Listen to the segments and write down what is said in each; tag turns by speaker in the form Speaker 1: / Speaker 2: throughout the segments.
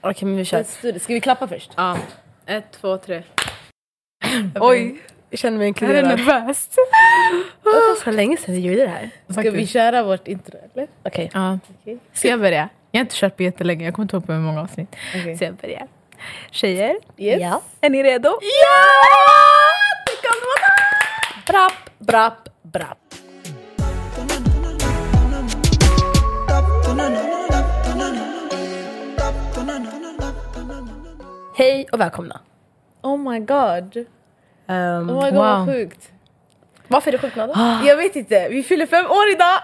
Speaker 1: Okej men vi kör.
Speaker 2: Ska vi klappa först?
Speaker 3: Typ. Ja. Ett, två, tre.
Speaker 1: Oj, jag känner mig
Speaker 3: Det här är
Speaker 1: inkluderad.
Speaker 3: nervöst.
Speaker 1: Det var så länge sedan vi gjorde det här.
Speaker 2: Ska vi
Speaker 3: Faktiskt.
Speaker 2: köra vårt intro eller?
Speaker 1: Okej.
Speaker 3: Ja.
Speaker 2: Okej.
Speaker 3: Ska jag börja? Jag har inte kört på jättelänge, jag kommer inte ihåg på hur många avsnitt.
Speaker 2: Okej.
Speaker 3: Så jag börjar. Tjejer,
Speaker 2: Yes.
Speaker 1: Ja.
Speaker 3: är ni redo?
Speaker 2: Ja! Det kan vara! Brapp, brapp, brapp.
Speaker 1: Hej och välkomna.
Speaker 2: Oh my god.
Speaker 1: Ehm,
Speaker 2: Oh my god
Speaker 3: Wow.
Speaker 2: vad sjukt.
Speaker 1: varför är du sjuk Nada?
Speaker 2: Jag vet inte, vi fyller fem år idag!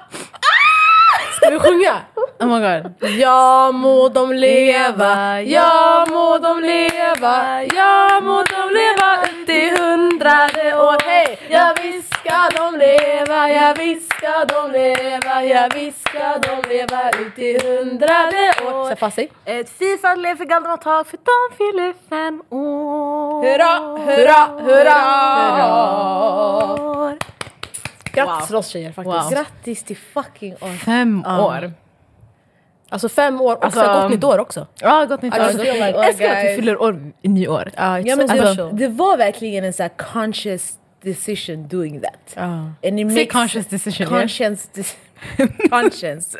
Speaker 1: Ska vi sjunga?
Speaker 3: Oh my god.
Speaker 1: Ja må de leva, ja må de leva, ja må de leva ut i hundrade år. Hej! Ja visst ska de leva, ja visst ska de leva, ja visst ska de leva ut i hundrade år. Sätt fast dig.
Speaker 3: Ett fifa lev för Galdramatag för de fyller fem år.
Speaker 1: Hurra, hurra, hurra!
Speaker 3: Hurra!
Speaker 1: Grattis till oss tjejer faktiskt.
Speaker 3: Wow.
Speaker 2: Grattis till fucking oss.
Speaker 3: Fem år.
Speaker 1: Alltså fem år och
Speaker 3: Alltså,
Speaker 1: så gott nytt år också.
Speaker 3: Ja, gott nytt år.
Speaker 2: Alltså,
Speaker 3: Jag
Speaker 2: gott nytt år,
Speaker 3: älskar att vi
Speaker 2: guys.
Speaker 3: fyller år i nyår.
Speaker 1: Ja, it's
Speaker 2: Ja, men
Speaker 1: so
Speaker 3: Alltså,
Speaker 2: det,
Speaker 1: special.
Speaker 2: det var verkligen en så här conscious decision doing that. And it
Speaker 3: Say
Speaker 2: makes
Speaker 3: conscious decision. yeah?
Speaker 2: conscience, de- conscience.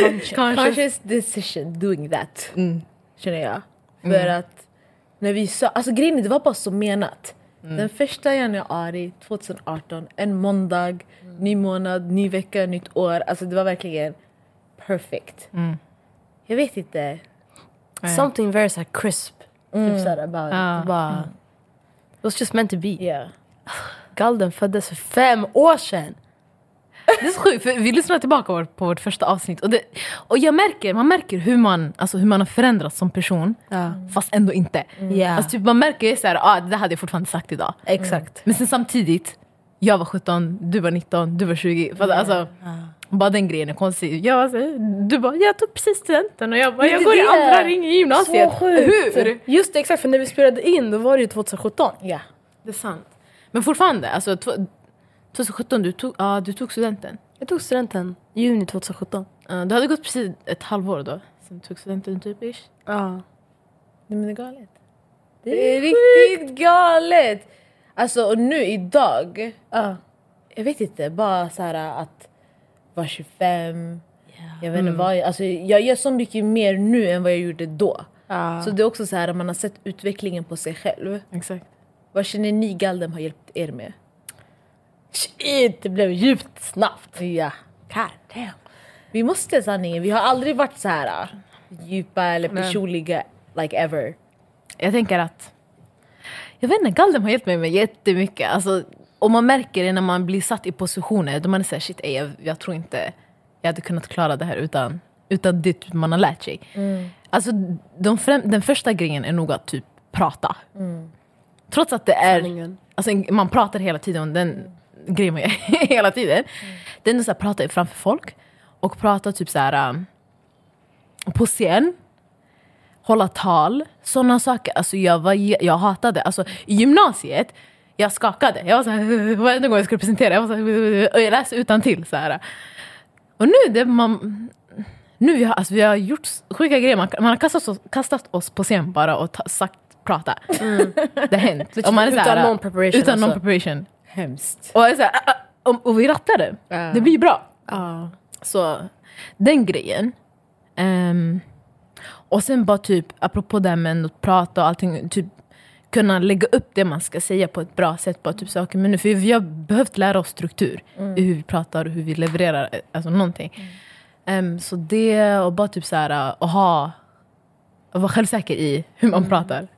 Speaker 3: Conscious.
Speaker 2: conscious decision doing that.
Speaker 1: Mm.
Speaker 2: Känner jag. För att när vi sa, alltså grejen är, det var bara så menat. Den första januari 2018, en måndag, ny månad, ny vecka, nytt år. Alltså det var verkligen perfect. Jag vet inte.
Speaker 1: Something very så här crisp.
Speaker 2: Typ såhär bara...
Speaker 3: Ja. Mm.
Speaker 1: Bara, It was just meant to be.
Speaker 2: Yeah.
Speaker 1: Galden föddes för fem år sedan.
Speaker 3: Det är så sjukt, för vi lyssnade tillbaka vår- på vårt första avsnitt och, det, och jag märker, man märker hur man, alltså hur man har förändrats som person
Speaker 1: Ja. Mm.
Speaker 3: fast ändå inte.
Speaker 1: Ja.
Speaker 3: Alltså typ man märker så här, ah, det där hade jag fortfarande sagt idag.
Speaker 1: Exakt.
Speaker 3: Men sen samtidigt, jag var 17, du var 19, du var 20. För, alltså, Bara den grejen är konstig. Jag, alltså, du bara, jag tog precis studenten och jag bara,
Speaker 1: Men
Speaker 3: jag
Speaker 1: det
Speaker 3: går i
Speaker 1: är det.
Speaker 3: andra ring i gymnasiet.
Speaker 2: Så sjukt.
Speaker 3: Hur?
Speaker 1: Just det, exakt. För när vi spelade in då var det ju 2017.
Speaker 2: Ja.
Speaker 3: Det är sant. Men fortfarande, alltså, tw- 2017, du tog, ah, du tog studenten.
Speaker 1: Jag tog studenten i juni 2017.
Speaker 3: Uh, du hade gått precis ett halvår då, sen tog studenten typ ish.
Speaker 1: Ja.
Speaker 2: Nej, men det är galet. Det är riktigt galet! Alltså och nu idag,
Speaker 1: Ja.
Speaker 2: jag vet inte, bara så här att vara 25, jag
Speaker 1: Mm.
Speaker 2: vet inte vad. jag- Alltså, jag gör så mycket mer nu än vad jag gjorde då.
Speaker 1: Ja.
Speaker 2: Så det är också så här man har sett utvecklingen på sig själv.
Speaker 3: Exakt.
Speaker 2: Vad känner ni Galdem har hjälpt er med?
Speaker 1: Shit, det blev djupt snabbt.
Speaker 2: Ja.
Speaker 1: God damn.
Speaker 2: Vi måste sanningen, vi har aldrig varit så här äh, djupa eller
Speaker 3: Nej.
Speaker 2: personliga like ever.
Speaker 3: Jag tänker att, jag vet inte, Galdem har hjälpt mig med jättemycket. Alltså, och man märker det när man blir satt i positioner då man är såhär shit ey, jag, jag tror inte jag hade kunnat klara det här utan, utan det man har lärt sig. Alltså, de främ- den första grejen är nog att typ prata. Trots att det är
Speaker 1: Sanningen.
Speaker 3: Alltså, en- man pratar hela tiden om den grejen man gör hela tiden. Det är ändå så här, prata framför folk och prata typ så här um, på scen. Hålla tal, sådana saker. Alltså jag, var, j- jag hatade, alltså i gymnasiet, jag skakade. Jag var såhär, varenda gång jag skulle presentera, jag var såhär, Eh, och jag läste utantill så här. Och nu, det, man, nu vi har, alltså, vi har gjort s- sjuka grejer. Man, man har kastat oss, kastat oss på scen bara och ta, sagt prata. Det har hänt. Och man är så här,
Speaker 1: Mm. Utan någon preparation
Speaker 3: Utan någon
Speaker 1: alltså.
Speaker 3: preparation.
Speaker 2: Hemskt.
Speaker 3: Och, jag är så här, "Ah, ah", och, och vi rattar det.
Speaker 2: Ja.
Speaker 3: Det blir bra.
Speaker 1: Ja.
Speaker 3: Så den grejen. Ehm, och sen bara typ, apropå det här med att prata och allting, typ kunna lägga upp det man ska säga på ett bra sätt. Bara typ saker. Men nu, för vi har behövt lära oss struktur i hur vi pratar och hur vi levererar eh, alltså någonting. Ehm, så det och bara typ så här, och ha, och vara självsäker i hur man pratar.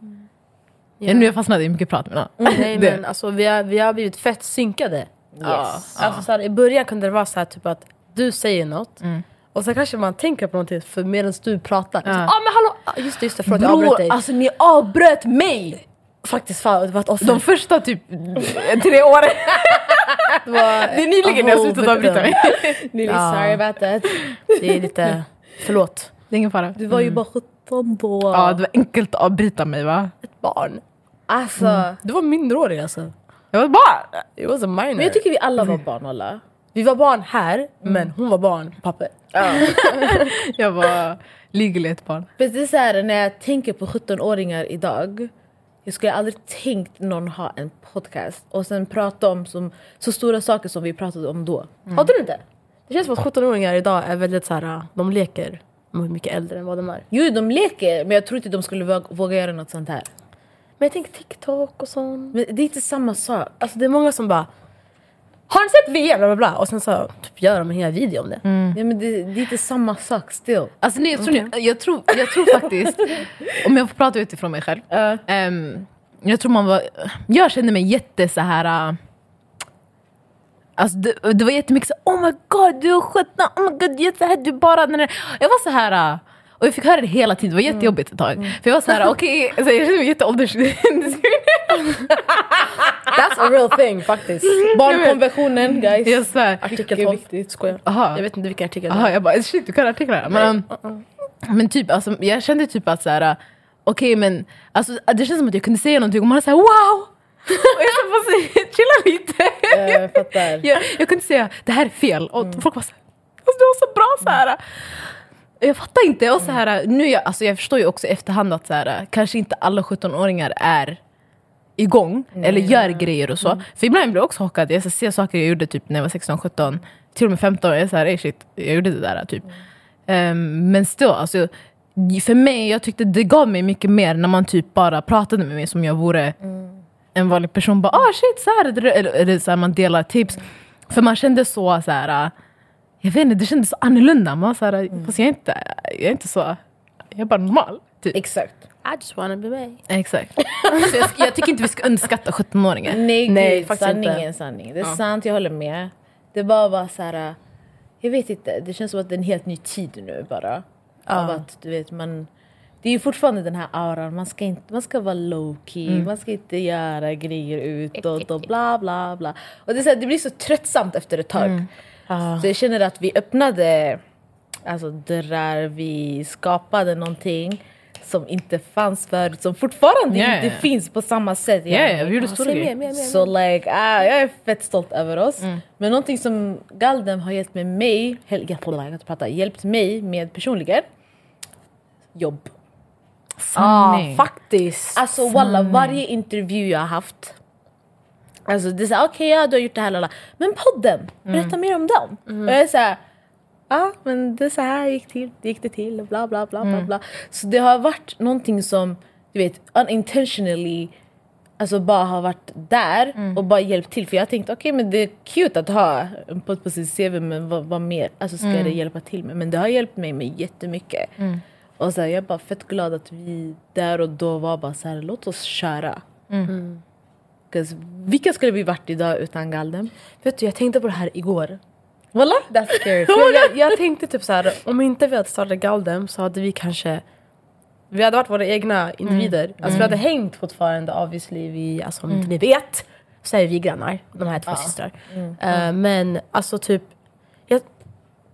Speaker 3: Ja, nu jag fastnade i mycket prat men ja.
Speaker 1: Nej
Speaker 3: Det.
Speaker 1: men alltså vi har, vi har blivit fett synkade.
Speaker 2: Yes.
Speaker 1: Alltså, så här, I början kunde det vara så här typ att du säger något
Speaker 3: Mm.
Speaker 1: och så kanske man tänker på någonting för medan du pratar. Ja ah, men hallå! Ah, Just det, just det, förlåt jag
Speaker 3: Bror,
Speaker 1: avbröt dig.
Speaker 3: alltså ni avbröt mig!
Speaker 1: Faktiskt fan, det var ett offer.
Speaker 3: De första typ tre åren.
Speaker 1: det, var,
Speaker 3: Det är nyligen jag har slutat avbryta mig.
Speaker 2: Really
Speaker 1: Ja.
Speaker 2: sorry about that.
Speaker 1: Det är lite, förlåt.
Speaker 3: Det är ingen fara.
Speaker 2: Du var ju bara 17 då.
Speaker 3: Ja, det var enkelt att avbryta mig va?
Speaker 1: Barn.
Speaker 2: Alltså,
Speaker 3: Mm.
Speaker 1: Du var minderårig alltså.
Speaker 3: Jag var bara...
Speaker 1: It was a minor.
Speaker 3: Mm.
Speaker 2: men jag tycker vi alla var barn alla.
Speaker 1: Vi var barn här, men hon var barn på papper.
Speaker 3: Jag var legally ett barn.
Speaker 2: För det är så här, när jag tänker på 17-åringar idag jag skulle aldrig tänkt någon ha en podcast och sen prata om som, så stora saker som vi pratade om då.
Speaker 3: Mm.
Speaker 1: Har du inte? Det känns som att 17-åringar idag är väldigt så här, de leker mycket äldre än vad de är.
Speaker 2: Jo, de leker, men jag tror inte de skulle våga, våga göra något sånt här.
Speaker 1: Men jag tänker TikTok och sånt.
Speaker 2: Men det är inte samma sak.
Speaker 1: Alltså det är många som bara Har ni sett VM? Bla, bla, bla. Och sen så typ, gör de en hel video om det.
Speaker 3: Mm.
Speaker 2: Ja, men det, det är inte samma sak still.
Speaker 3: Alltså, nej, jag, tror, jag, tror, jag tror faktiskt, om jag får prata utifrån mig själv. ehm, jag tror man var, jag kände mig jätte så här. äh, Alltså det, det var jättemycket så oh my god du har skjutna, oh my god du gör så här, du bara... Nej, nej. Jag var så här äh, och jag fick höra det hela tiden, det var jättejobbigt ett tag. För jag var så här, okej, så jag kände mig jätteålders...
Speaker 1: That's a real thing faktiskt.
Speaker 2: Barnkonventionen guys.
Speaker 3: jag svär.
Speaker 1: Artikel
Speaker 2: Mycket
Speaker 1: 12.
Speaker 2: viktigt, skojar.
Speaker 3: Aha.
Speaker 1: Jag vet inte vilken artikel det
Speaker 3: Jaha,
Speaker 1: är.
Speaker 3: jag bara shit du kan artiklarna. Men, men typ, alltså, jag kände typ att såhär, okej men alltså, det känns som att jag kunde säga någonting och man var såhär wow! och jag bara säga, chilla lite.
Speaker 2: Jag fattar.
Speaker 3: jag, jag kunde säga det här är fel och folk var såhär, alltså, du var så bra såhär. Jag fattar inte. Och så här, nu jag, alltså jag förstår ju också i efterhand att så här, kanske inte alla 17-åringar är igång eller gör grejer och så. För ibland blir jag också chockad. Jag ser saker jag gjorde typ när jag var 16, 17, till och med 15. Jag är så här, "Ey, shit, jag gjorde det där typ. Ehm, men still, alltså, för mig, jag tyckte det gav mig mycket mer när man typ bara pratade med mig som jag vore en vanlig person. Bara, ah shit, så här, är det." eller, eller så här, man delar tips. För man kände så, så här, jag vet inte, det kändes så annorlunda. Man var så här,
Speaker 1: Mm.
Speaker 3: fast jag är, inte, jag är inte så, jag är bara normal. Typ.
Speaker 2: Exakt.
Speaker 1: I just wanna be me.
Speaker 3: Exakt. Så jag, jag tycker inte vi ska underskatta 17-åringar.
Speaker 2: Nej,
Speaker 1: Nej,
Speaker 2: gud,
Speaker 1: faktiskt
Speaker 2: sanningen,
Speaker 1: inte.
Speaker 2: sanning. Det är sant, jag håller med. Det bara var så här... Jag vet inte, det känns som att det är en helt ny tid nu bara. Av att du vet, man... Det är ju fortfarande den här auran, man ska, inte, man ska vara low key,
Speaker 3: Mm.
Speaker 2: man ska inte göra grejer utåt och bla bla bla. Och det, är så här, det blir så tröttsamt efter ett tag.
Speaker 3: Mm.
Speaker 2: Så jag känner att vi öppnade alltså, dörrar, vi skapade någonting som inte fanns förut, som fortfarande
Speaker 3: Ja, ja.
Speaker 2: inte finns på samma sätt.
Speaker 3: Ja, ja, vi gjorde
Speaker 1: Ja,
Speaker 3: stora
Speaker 1: säg mer,
Speaker 3: grejer.
Speaker 1: mer, mer.
Speaker 2: Så like, ah, jag är fett stolt över oss. Men någonting som Galdem har hjälpt med mig, hel- jag kan inte prata, hjälpt mig med personligen, jobb.
Speaker 1: Ja, Ah, Mm.
Speaker 3: Sanning.
Speaker 1: faktiskt.
Speaker 2: Alltså walla, varje intervju jag har haft, alltså det är såhär, okej ja du har gjort det här, lala. men podden, berätta mer om dem. Och jag är såhär, ja ah, men det är så här gick, till, det gick det till och bla bla bla bla bla. Så det har varit någonting som, du vet, unintentionally Alltså bara har varit där och bara hjälpt till. För jag tänkte okej men det är cute att ha en podd på sin CV men vad, vad mer alltså, ska det hjälpa till med? Men det har hjälpt mig med jättemycket. Och så här, jag är bara fett glad att vi där och då var bara så här, låt oss köra. Because Vilka skulle vi varit idag utan Galdem?
Speaker 1: Vet du, jag tänkte på det här igår.
Speaker 2: Voilà!
Speaker 1: That's scary. För jag, jag, jag tänkte typ så här, om inte vi hade startat Galdem så hade vi kanske vi hade varit våra
Speaker 3: Mm.
Speaker 1: egna individer. Alltså vi hade hängt fortfarande obviously. Vi, alltså om inte
Speaker 3: Mm.
Speaker 1: ni vet så är vi grannar, de här två systrar. Eh,
Speaker 3: Mm.
Speaker 1: men alltså typ, jag,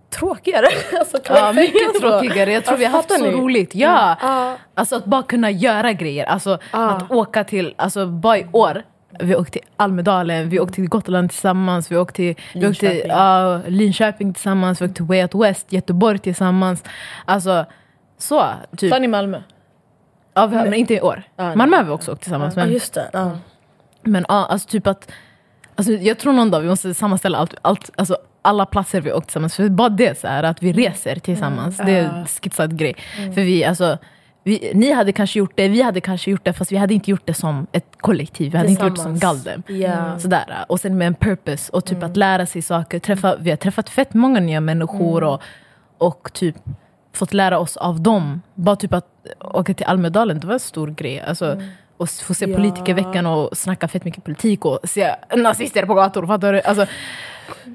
Speaker 1: tråkigare. alltså, kan
Speaker 3: Ja,
Speaker 1: man säga så?
Speaker 3: mycket tråkigare. Jag tror vi har haft
Speaker 1: Fattar
Speaker 3: så
Speaker 1: ni? Mm.
Speaker 3: roligt. Ja. Alltså att bara kunna göra grejer. Alltså
Speaker 2: Ah.
Speaker 3: att åka till, alltså bara i år. Vi åkte till Almedalen, vi åkte till Gotland tillsammans, vi åkte till vi åkte, till,
Speaker 2: Linköping.
Speaker 3: ja, Linköping tillsammans, vi åkte till Way Out West, Göteborg tillsammans. Alltså så, typ.
Speaker 2: Fan i Malmö.
Speaker 3: Ja, vi har, men inte i år.
Speaker 2: nej. Ah.
Speaker 3: Malmö har vi också åkt tillsammans.
Speaker 1: Ja
Speaker 3: Men,
Speaker 1: just det. Ja.
Speaker 3: Men ja, alltså typ att... Alltså jag tror någon dag vi måste sammanställa allt, allt, alltså alla platser vi åkt tillsammans. För bara det, så här, att vi reser tillsammans, det är en skitsad grej. För vi, alltså, vi, ni hade kanske gjort det, vi hade kanske gjort det, fast vi hade inte gjort det som ett kollektiv. Vi hade inte gjort det som
Speaker 1: Tillsammans.
Speaker 3: Galdem.
Speaker 1: Ja.
Speaker 3: Mm. Sådär. Och sen med en purpose och typ att lära sig saker. Träffa, vi har träffat fett många nya människor och, och typ fått lära oss av dem. Bara typ att åka till Almedalen, det var en stor grej. Alltså, Och s- få se
Speaker 1: Ja.
Speaker 3: politikerveckan och snacka fett mycket politik och se nazister på gator. Fattar du? Alltså,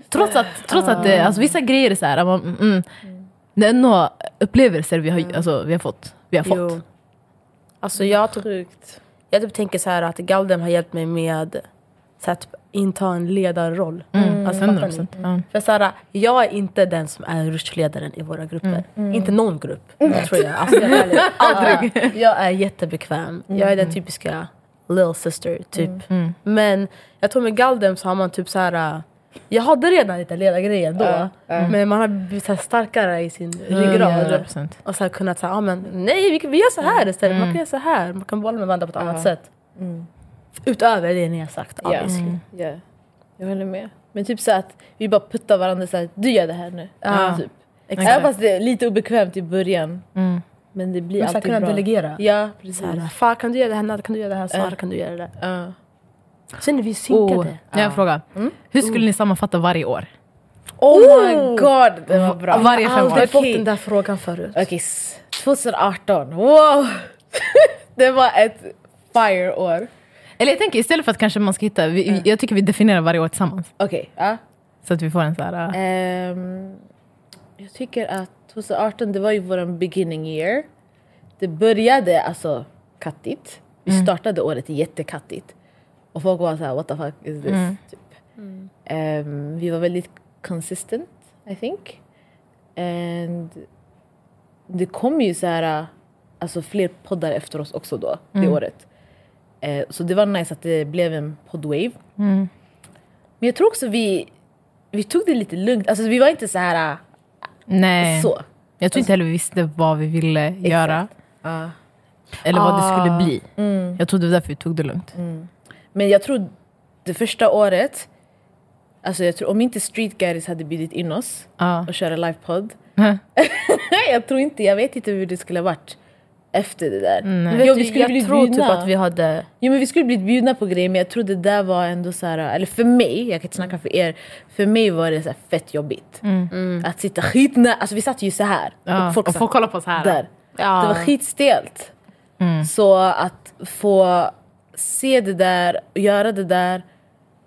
Speaker 3: trots att, trots att det, alltså, vissa grejer är såhär, man, mm, mm. det är några upplevelser vi har, alltså, vi har fått. Vi har fått.
Speaker 1: Jo. Alltså jag typ, jag typ tänker så här att Galdem har hjälpt mig med så här, typ, inta en ledarroll.
Speaker 3: Mm,
Speaker 1: Alltså, fattar ni?
Speaker 3: 100%.
Speaker 1: För
Speaker 3: Ja.
Speaker 1: Sara, jag är inte den som är ruschledaren i våra grupper.
Speaker 2: Mm.
Speaker 1: Inte någon grupp, tror jag. Alltså, jag är ärlig. Aldrig. Jag är jättebekväm. Jag är den Mm.
Speaker 2: Mm.
Speaker 1: typiska little sister, typ. Men jag tror med Galdem så har man typ så här... Jag hade redan italienargrejen då.
Speaker 4: Ja,
Speaker 2: Mm.
Speaker 4: ja.
Speaker 1: Men man har blivit så här starkare i sin
Speaker 3: Mm,
Speaker 1: ryggrad.
Speaker 3: 100%.
Speaker 1: Och så här kunnat säga, ah, men nej vi, kan- vi gör så här istället. Man kan göra så här. Man kan bolla med varandra på ett annat sätt. Utöver det ni har sagt
Speaker 4: Ja.
Speaker 1: obviously.
Speaker 2: Mm.
Speaker 4: Ja.
Speaker 2: Jag håller med. Men typ så att vi bara puttar varandra så här, du gör det här nu.
Speaker 1: Ja.
Speaker 2: Typ.
Speaker 1: Exakt.
Speaker 2: Även fast det är lite obekvämt i början.
Speaker 3: Mm.
Speaker 2: Men det blir
Speaker 1: Man ska
Speaker 2: alltid
Speaker 1: kunna
Speaker 2: bra.
Speaker 1: delegera.
Speaker 2: Ja, precis.
Speaker 1: Så här, Fan kan du göra det här? Nada, Kan du göra det här? Sara kan du göra det?
Speaker 2: Ja.
Speaker 1: Sen är vi synkade.
Speaker 3: Oh, jag har en fråga.
Speaker 2: Mm.
Speaker 3: Hur skulle ni sammanfatta varje år?
Speaker 2: Oh my god, det var bra.
Speaker 3: Varje fem år.
Speaker 1: Aldrig fått
Speaker 2: Okej.
Speaker 1: den där frågan förut.
Speaker 2: Okej, s- 2018. Wow! det var ett fire-år.
Speaker 3: Eller jag tänker istället för att kanske man ska hitta, vi,
Speaker 2: Mm.
Speaker 3: jag tycker vi definierar varje år tillsammans.
Speaker 2: Okej, ja.
Speaker 3: Så att vi får en så här...
Speaker 2: Eh,
Speaker 3: äh,
Speaker 2: Ehm, jag tycker att 2018 det var ju vår beginning year. Det började alltså kattigt. Vi startade året jättekattigt. Och folk var såhär what the fuck is this? Typ. Ehm, vi var väldigt consistent I think. And det kom ju så här, alltså fler poddar efter oss också då det året. Eh, så det var nice att det blev en poddwave.
Speaker 3: mm.
Speaker 2: Men jag tror också vi, vi tog det lite lugnt. Alltså vi var inte så här
Speaker 3: Nej.
Speaker 2: så.
Speaker 3: Jag tror inte heller vi visste vad vi ville göra.
Speaker 2: Ja.
Speaker 3: Eller vad det
Speaker 2: Ah.
Speaker 3: skulle bli. Jag tror det var därför vi tog det lugnt.
Speaker 2: Mm. Men jag tror det första året, alltså jag tror, om inte Street Guys hade bjudit in oss
Speaker 3: Ja.
Speaker 2: och köra livepodd.
Speaker 3: Mm.
Speaker 2: jag tror inte, jag vet inte hur det skulle ha varit efter det där.
Speaker 3: Nej.
Speaker 2: Mm, Jo,
Speaker 1: Vet
Speaker 2: vi
Speaker 1: du,
Speaker 2: skulle
Speaker 1: jag
Speaker 2: blivit
Speaker 1: tror
Speaker 2: bjudna.
Speaker 1: typ att vi hade...
Speaker 2: Jo men vi skulle blivit bjudna på grejer men jag tror det där var ändå så här, eller för mig, jag kan inte snacka för er, för mig var det så här fett jobbigt. Att sitta skitnä, alltså vi satt ju så här
Speaker 3: Ja.
Speaker 2: Mm. och folk
Speaker 3: och
Speaker 2: satt
Speaker 3: folk kollar på oss här.
Speaker 2: där.
Speaker 1: Ja.
Speaker 2: Det var skitstelt.
Speaker 3: Mm.
Speaker 2: Så att få se det där och göra det där,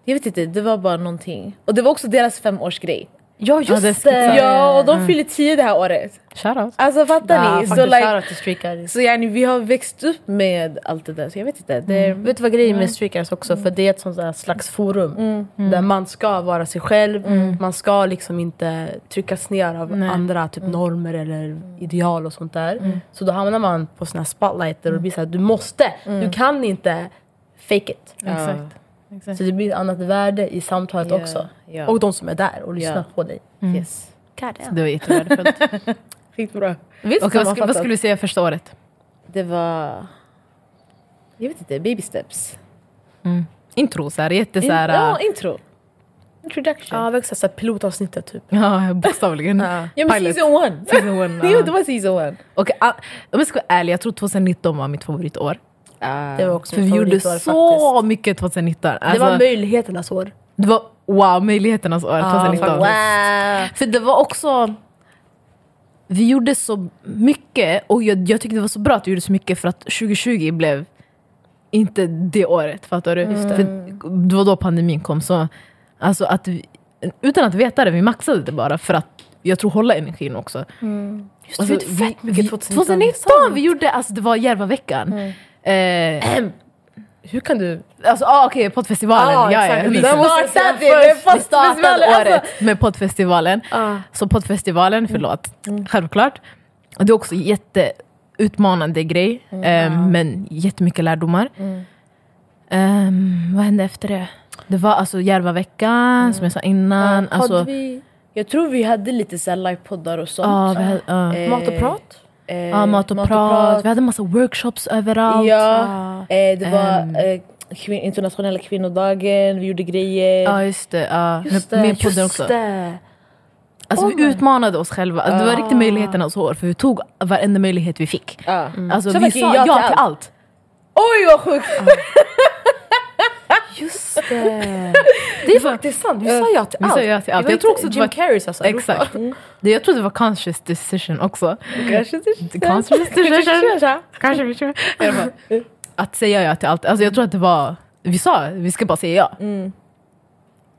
Speaker 2: jag vet inte, det var bara någonting. Och det var också deras femårsgrej.
Speaker 1: Ja
Speaker 3: Ja, det är Mm.
Speaker 1: just det!
Speaker 3: skitsam.
Speaker 2: Ja och de fyller tio det här året.
Speaker 3: Shoutout.
Speaker 2: Alltså fattar
Speaker 1: Ja,
Speaker 2: ni?
Speaker 1: faktiskt,
Speaker 2: Så, like,
Speaker 1: shoutout till Street Guys.
Speaker 2: så yani, vi har växt upp med allt det där så jag vet inte. Det,
Speaker 3: Mm.
Speaker 1: Vet du vad grejen med streakers också? För det är ett sånt där slags forum där man ska vara sig själv. Man ska liksom inte tryckas ner av andra typ normer eller ideal och sånt där. Så då hamnar man på såna här spotlighter och det blir såhär, du måste! Du kan inte fake it.
Speaker 3: Exakt.
Speaker 1: Så det blir ett annat värde i samtalet
Speaker 2: Ja,
Speaker 1: också.
Speaker 2: ja.
Speaker 1: Och de som är där och lyssnar
Speaker 2: Ja.
Speaker 1: på dig.
Speaker 3: Mm.
Speaker 2: Yes.
Speaker 3: Så det var jättevärdefullt.
Speaker 2: Skitbra.
Speaker 3: Okej, vad, skulle, vad skulle du säga första året?
Speaker 2: Det var... Jag vet inte, baby steps.
Speaker 3: Intro så här, jätte så
Speaker 2: In,
Speaker 3: här... äh,
Speaker 2: ja, intro. Introduction.
Speaker 1: Ja, växa såhär pilotavsnittet typ.
Speaker 3: Ja, bokstavligen.
Speaker 2: ja, men
Speaker 3: Pilot.
Speaker 2: season one.
Speaker 3: Season one,
Speaker 2: jo,
Speaker 3: ja.
Speaker 2: det var season one.
Speaker 3: Och, ah, om jag ska vara ärlig, jag tror 2019 var mitt favoritår.
Speaker 1: Det var också
Speaker 3: För
Speaker 1: mitt
Speaker 3: vi gjorde
Speaker 1: favoritår
Speaker 3: så
Speaker 1: faktiskt.
Speaker 3: mycket 2019.
Speaker 1: Det
Speaker 3: Alltså,
Speaker 1: var möjligheternas år.
Speaker 3: det var wow, möjligheternas år 2019.
Speaker 2: Wow.
Speaker 3: För det var också... Vi gjorde så mycket och jag, jag tyckte det var så bra att vi gjorde så mycket för att 2020 blev inte det året. Fattar du? För det var då pandemin kom. Så, alltså att vi, utan att veta det, vi maxade det bara för att jag tror hålla energin också. Just
Speaker 1: Alltså, vi gjorde fett mycket 2019.
Speaker 3: 2019! Vi gjorde, alltså det var Järvaveckan.
Speaker 1: Mm.
Speaker 3: Eh,
Speaker 1: Hur kan du
Speaker 3: alltså ah, okej, poddfestivalen.
Speaker 1: Ja,
Speaker 3: ja, ja,
Speaker 1: exakt. Vi
Speaker 3: liksom.
Speaker 1: måste
Speaker 2: startade
Speaker 1: säga
Speaker 2: det med
Speaker 1: först, vi
Speaker 2: poddfestivalen,
Speaker 1: startade
Speaker 2: alltså.
Speaker 1: året.
Speaker 3: med poddfestivalen. Så poddfestivalen, förlåt, självklart. Och Det är också jätteutmanande grej, eh, men jättemycket lärdomar. Ehm, vad hände efter det? Det var alltså Järvaveckan, som jag sa innan. alltså,
Speaker 2: vi, jag tror vi hade lite så här livepoddar och sånt.
Speaker 3: ja, vi hade, ja.
Speaker 2: Eh,
Speaker 1: mat och prat?
Speaker 2: eh,
Speaker 3: Ja, mat och prat. Vi hade massa workshops överallt.
Speaker 2: Ja,
Speaker 1: Ah.
Speaker 2: eh, det var
Speaker 3: Ehm.
Speaker 2: eh, kvin- internationella kvinnodagen, vi gjorde grejer.
Speaker 3: Ja, just det. ja. med, med podden också.
Speaker 1: det.
Speaker 3: Alltså, vi utmanade oss själva. Alltså, Det var riktigt möjligheternas år, för vi tog varenda möjlighet vi fick.
Speaker 2: Ja.
Speaker 3: Alltså,
Speaker 2: Så
Speaker 3: vi
Speaker 2: verkligen
Speaker 3: sa ja till allt.
Speaker 2: Oj vad sjukt!
Speaker 1: Just det. Det är faktiskt sant. Vi sa ja till
Speaker 3: Vi
Speaker 1: allt.
Speaker 3: sa ja
Speaker 1: var alltså.
Speaker 3: till allt. Jag tror
Speaker 1: inte
Speaker 3: också att det
Speaker 1: Jim
Speaker 3: var-
Speaker 1: Carrey sa så. här,
Speaker 3: Exakt.
Speaker 1: Europa.
Speaker 3: Mm. Det, jag tror det var conscious decision också.
Speaker 2: Kanske det-
Speaker 3: Conscious decision. Kanske vi kör. I alla fall, Att säga ja till allt. Alltså jag tror att det var, vi sa vi ska bara säga ja.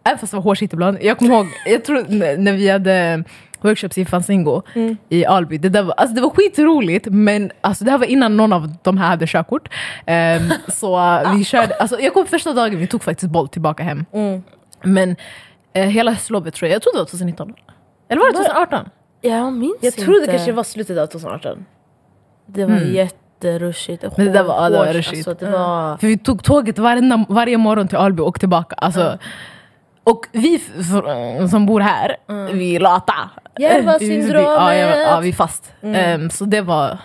Speaker 3: Även fast det var hårshit ibland. Jag kommer ihåg, jag tror n- när vi hade workshops i Fanzingo i Alby. Det, där var, alltså det var skitroligt men alltså det här var innan någon av de här hade körkort. Ehm, så vi körde, alltså jag kom första dagen vi tog faktiskt boll tillbaka hem. Men eh, hela höstlovet tror jag, jag tror det var 2019. Eller var det 2018?
Speaker 1: Jag minns
Speaker 2: Jag tror det
Speaker 1: inte.
Speaker 2: kanske var slutet av 2018.
Speaker 1: Det var jätterushigt.
Speaker 3: Mm. Men det där var- ja, det var
Speaker 1: Hårt,
Speaker 3: rushigt.
Speaker 1: Alltså, det var...
Speaker 3: För vi tog tåget varenda, varje morgon till Alby och tillbaka. Alltså, Och vi f- f- som bor här, vi är lata.
Speaker 2: Järvasyndromet.
Speaker 3: Vi- Ja, ja, ja, vi är fast. Ehm, så det var...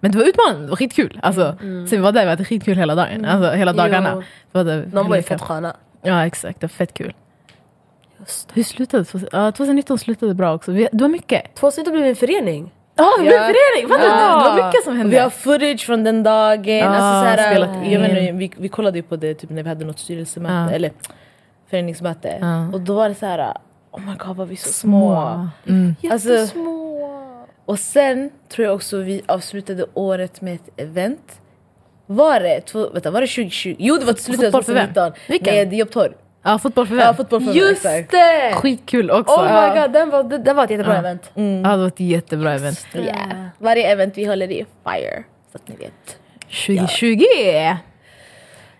Speaker 3: Men det var utmanande, det var skitkul. Alltså, Så vi var där, vi hade skitkul hela dagen. Alltså, hela dagarna.
Speaker 1: Jo.
Speaker 3: Det var det,
Speaker 1: De var ju fett sköna.
Speaker 3: Ja, exakt. Det var fett kul. Hur slutade det? Ja, 2019 slutade bra också. Vi, det var mycket.
Speaker 1: Två sidor blev en förening.
Speaker 3: Ja, vi blev förening! Fattar du?
Speaker 2: Ja.
Speaker 3: Det var mycket som hände.
Speaker 2: Vi har footage från den dagen.
Speaker 3: Ah,
Speaker 2: alltså, såhär,
Speaker 3: spelat
Speaker 2: jag
Speaker 3: in.
Speaker 2: menar, vi, vi kollade ju på det typ, när vi hade något styrelsemöte
Speaker 3: Ah.
Speaker 2: eller föreningsmöte.
Speaker 3: Ah.
Speaker 2: Och då var det så här: oh my god vad vi är så små.
Speaker 3: Små. Mm.
Speaker 2: Alltså, och sen tror jag också vi avslutade året med ett event. Var det, två, vänta, var det 2020? Jo det var till slutet av
Speaker 3: Fotboll för vem?
Speaker 2: 2019.
Speaker 3: Vilken?
Speaker 2: Med Jobbtorg.
Speaker 3: Ja, fotboll för vem?
Speaker 2: Ja, fotboll Alltså, för vem,
Speaker 1: Just
Speaker 2: exakt.
Speaker 1: det!
Speaker 3: Skitkul också.
Speaker 1: Oh my god, den var, det, det var ett jättebra event. Eh,
Speaker 3: Ja, det var ett jättebra event.
Speaker 2: Yeah. Mm. Varje event vi håller i är fire. Så att ni vet.
Speaker 3: 2020!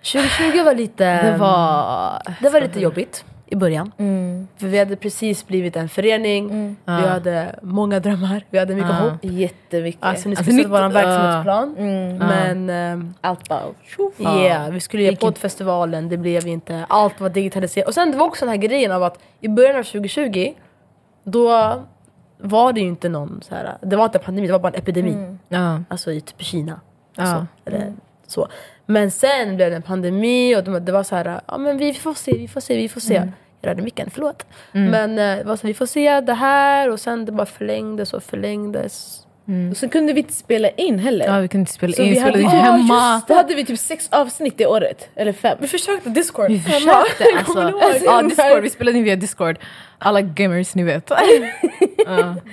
Speaker 1: 2020 var lite,
Speaker 3: Det var...
Speaker 1: det var lite jobbigt i början.
Speaker 2: Mm.
Speaker 1: För vi hade precis blivit en förening,
Speaker 3: Mm.
Speaker 1: vi hade många drömmar, vi hade mycket
Speaker 3: Ja.
Speaker 1: hopp.
Speaker 2: Jättemycket. Mm.
Speaker 1: Alltså ni
Speaker 3: Alltså,
Speaker 1: skulle
Speaker 3: nytt-
Speaker 1: sett vår verksamhetsplan. Men ehm,
Speaker 2: Allt bara...
Speaker 1: Ja, vi skulle göra poddfestivalen, det blev inte. Allt var digitaliserat. Och sen det var också den här grejen av att i början av 2020, då var det ju inte någon så här, det var inte en pandemi, det var bara en epidemi.
Speaker 2: Mm.
Speaker 3: Ja.
Speaker 1: Alltså i typ Kina.
Speaker 3: Mm. Ja. Mm.
Speaker 1: Så, eller så. Men sen blev det en pandemi och det var- det var så här, ja men vi får se, vi får se, vi får se.
Speaker 3: Mm.
Speaker 1: Jag rörde micken, förlåt. Men eh, det var så här, vi får se det här och sen det bara förlängdes och förlängdes.
Speaker 2: Och sen kunde vi inte spela in heller.
Speaker 3: Mm. ja, vi kunde inte spela
Speaker 2: Så
Speaker 3: in,
Speaker 2: vi hade,
Speaker 3: spelade in
Speaker 2: Ja,
Speaker 3: hemma.
Speaker 2: just det. Då hade vi typ sex avsnitt det året. Eller fem.
Speaker 1: Vi försökte Discord.
Speaker 3: Vi försökte alltså.
Speaker 2: ihåg?
Speaker 3: Ja, Discord, vi spelade in via Discord. Alla gamers ni vet. ja,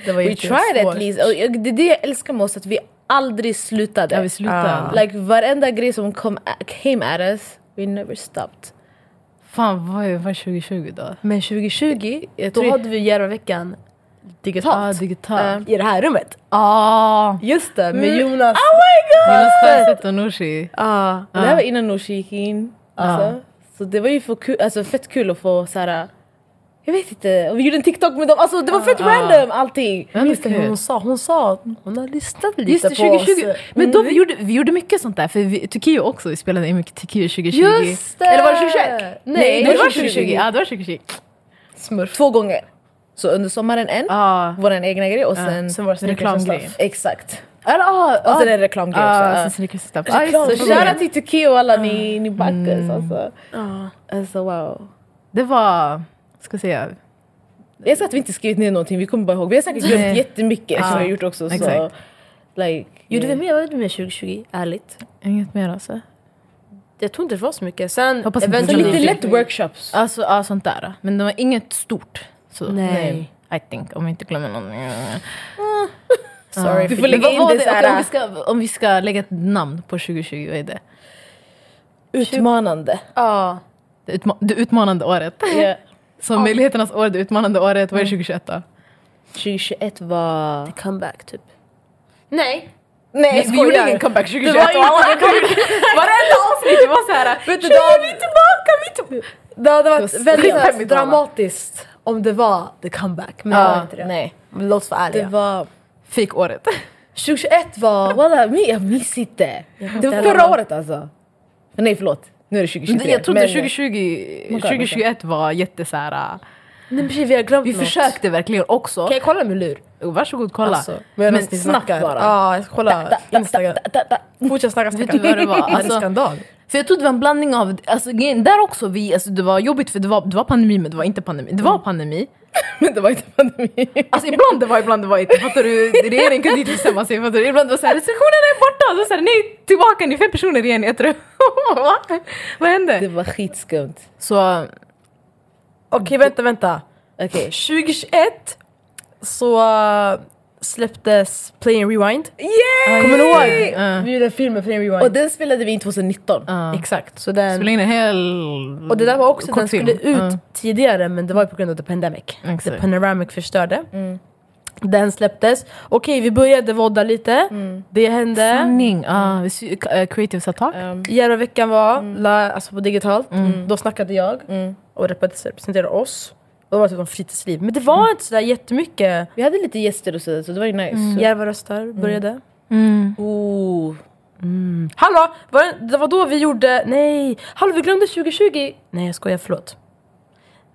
Speaker 3: det var
Speaker 2: We tried at least. Och jag- det är det jag älskar med oss, att vi aldrig slutade. Ah.
Speaker 3: Ja, vi slutade.
Speaker 2: Like varenda grej som kom, came at us, we never stopped.
Speaker 3: Fan, vad var 2020 då?
Speaker 1: Men 2020, då
Speaker 2: tror-
Speaker 1: hade vi Järvaveckan
Speaker 3: Ja,
Speaker 1: digitalt.
Speaker 3: digitalt.
Speaker 1: I det här rummet. Mm. Oh
Speaker 3: Ah,
Speaker 1: Just det, med Jonas.
Speaker 3: Jonas Sjöstedt och Nooshi.
Speaker 1: Ja.
Speaker 2: Det
Speaker 3: Ah.
Speaker 2: här var innan Nooshi gick in. Alltså. Så det var ju för kul, alltså, fett kul att få såhär... Jag vet inte, och vi gjorde en TikTok med dem. Alltså det
Speaker 3: Ah,
Speaker 2: var fett random allting.
Speaker 3: Ja, det
Speaker 1: Just det,
Speaker 3: kul.
Speaker 1: hon sa, hon sa att hon har lyssnat lite
Speaker 3: Just det,
Speaker 1: på
Speaker 3: 2020.
Speaker 1: oss.
Speaker 3: Men då vi gjorde vi gjorde mycket sånt där. För vi, Tokyo också, vi spelade in mycket Tokyo 2020.
Speaker 1: Just det!
Speaker 3: Eller var det 2021?
Speaker 1: Nej,
Speaker 3: det var 2020. Ja, det var 2020.
Speaker 2: Två gånger. Så under sommaren en,
Speaker 3: Ja.
Speaker 2: vår egna grej och sen...
Speaker 1: Sen var det sneakers och
Speaker 3: Ah, Reklamgrej. Ah,
Speaker 1: stuff.
Speaker 2: Exakt.
Speaker 3: Eller ah, alltså ja,
Speaker 2: Och
Speaker 3: ja.
Speaker 2: sen en reklamgrej också. Ah.
Speaker 3: Ja,
Speaker 2: ja.
Speaker 3: sen Snickers och stuff. Ja, just
Speaker 2: Så
Speaker 3: det,
Speaker 2: shoutout till Tokyo och alla ni, ni backas
Speaker 3: Mm.
Speaker 2: alltså. Alltså wow.
Speaker 3: Det var, ska jag säga,
Speaker 2: Jag sa att vi inte skrivit ner någonting, vi kommer bara ihåg. Vi har säkert glömt
Speaker 3: Nej.
Speaker 2: jättemycket som vi har gjort också. Så,
Speaker 3: exakt.
Speaker 2: like, eh,
Speaker 1: Gjorde vi mer? Vad gjorde vi med 2020? Ärligt.
Speaker 3: inget mer alltså.
Speaker 1: Jag tror inte det var så mycket. Sen
Speaker 3: Hoppas inte
Speaker 1: eventuellt-
Speaker 3: det var
Speaker 2: Lite lätt workshops.
Speaker 3: Alltså ja, sånt där. Men det var inget stort. Så,
Speaker 1: Nej.
Speaker 3: I think, om jag inte glömmer någon.
Speaker 2: Sorry. Du får
Speaker 3: Men
Speaker 2: lägga
Speaker 3: vad
Speaker 2: in
Speaker 3: var
Speaker 2: det
Speaker 3: Okej, om,
Speaker 2: såhär
Speaker 3: vi ska, om vi ska lägga ett namn på 2020, vad är det?
Speaker 2: utmanande.
Speaker 1: Ja.
Speaker 3: Det, utma- det utmanande året.
Speaker 2: Ja.
Speaker 3: Så möjligheternas år, det utmanande året. Vad är 2021 då?
Speaker 2: 2021 var...
Speaker 1: Comeback typ. Nej.
Speaker 2: Nej
Speaker 3: Vi gjorde ingen comeback 2021. Det var Varenda avsnitt det var såhär.
Speaker 1: Vet du, det,
Speaker 3: Vi är tillbaka, vi är tillbaka.
Speaker 1: det hade varit
Speaker 3: Det var
Speaker 1: väldigt
Speaker 3: skitfemmigt,
Speaker 1: dramatiskt om det var the comeback. Men det var
Speaker 3: Ja,
Speaker 1: inte det.
Speaker 2: Nej,
Speaker 1: Men Låt oss vara
Speaker 2: det
Speaker 1: ärliga.
Speaker 2: var...
Speaker 3: Fejkåret.
Speaker 2: 2021 var... Walla, mi- jag minns inte. Det var
Speaker 1: heller.
Speaker 2: förra året alltså. Nej förlåt, nu är det 2023.
Speaker 3: Jag trodde
Speaker 2: Men-
Speaker 3: 2020,
Speaker 2: God,
Speaker 3: 2021 var jätte såhär.
Speaker 1: Nej, precis, vi har glömt
Speaker 3: Vi
Speaker 1: något.
Speaker 3: försökte verkligen också.
Speaker 1: Kan jag kolla min lur?
Speaker 3: Oh, Varsågod kolla.
Speaker 2: Alltså,
Speaker 1: Medan
Speaker 3: men
Speaker 1: ni
Speaker 3: snabbt
Speaker 1: snackar.
Speaker 3: bara.
Speaker 1: Ja, jag ska kolla Instagram.
Speaker 2: Da, da, da.
Speaker 1: Fortsätt snacka,
Speaker 3: Vet
Speaker 1: snacka.
Speaker 3: du vad det var?
Speaker 1: Ja, det är
Speaker 3: Alltså-
Speaker 1: skandal.
Speaker 3: För jag tror det var en blandning av, alltså, grejen- där också vi, alltså, det var jobbigt för det var, det var pandemi men det var inte pandemi. Det var pandemi.
Speaker 2: Men det var inte pandemi.
Speaker 3: Alltså ibland Mm. det var, ibland det var inte. Fattar du? Regeringen kunde inte bestämma sig. Fattar du? Ibland var det såhär, restriktionerna är borta! Och så såhär, nej, tillbaka, ni är fem personer igen i ett rum. Va? Vad
Speaker 2: Det
Speaker 3: hände?
Speaker 2: var skitskumt.
Speaker 3: Så,
Speaker 1: Okej, vänta, vänta.
Speaker 2: Okej.
Speaker 1: 2021 så uh, släpptes Play and Rewind.
Speaker 2: Yay!
Speaker 1: Kommer du ihåg?
Speaker 3: Ja.
Speaker 1: Vi gjorde filmen Play and Rewind.
Speaker 2: Och den spelade vi in 2019.
Speaker 3: ja.
Speaker 1: Exakt. Så
Speaker 3: Spelade
Speaker 1: den,
Speaker 3: in en hel...
Speaker 1: och det där var också att den
Speaker 3: kortfilm.
Speaker 1: skulle ut
Speaker 3: Ja.
Speaker 1: tidigare men det var ju på grund av the pandemic. The
Speaker 3: Exakt.
Speaker 1: panoramic förstörde. Den släpptes. Okej, vi började vodda lite. Det hände.
Speaker 3: Sanning, ja. Vi sy- eh, Creative Attack.
Speaker 2: Um,
Speaker 1: Jävla veckan var la, alltså på digitalt. Då snackade jag och representerade oss. Och då var det typ om fritidsliv. Men det var inte sådär jättemycket.
Speaker 2: vi hade lite gäster och sådär så det var ju nice. Så-
Speaker 1: Järva röstar började. Mm.
Speaker 3: Mm.
Speaker 2: Oh.
Speaker 1: Hallå! Var det, det var då vi gjorde... Nej! Hallå vi glömde 2020! Nej jag skojar, förlåt.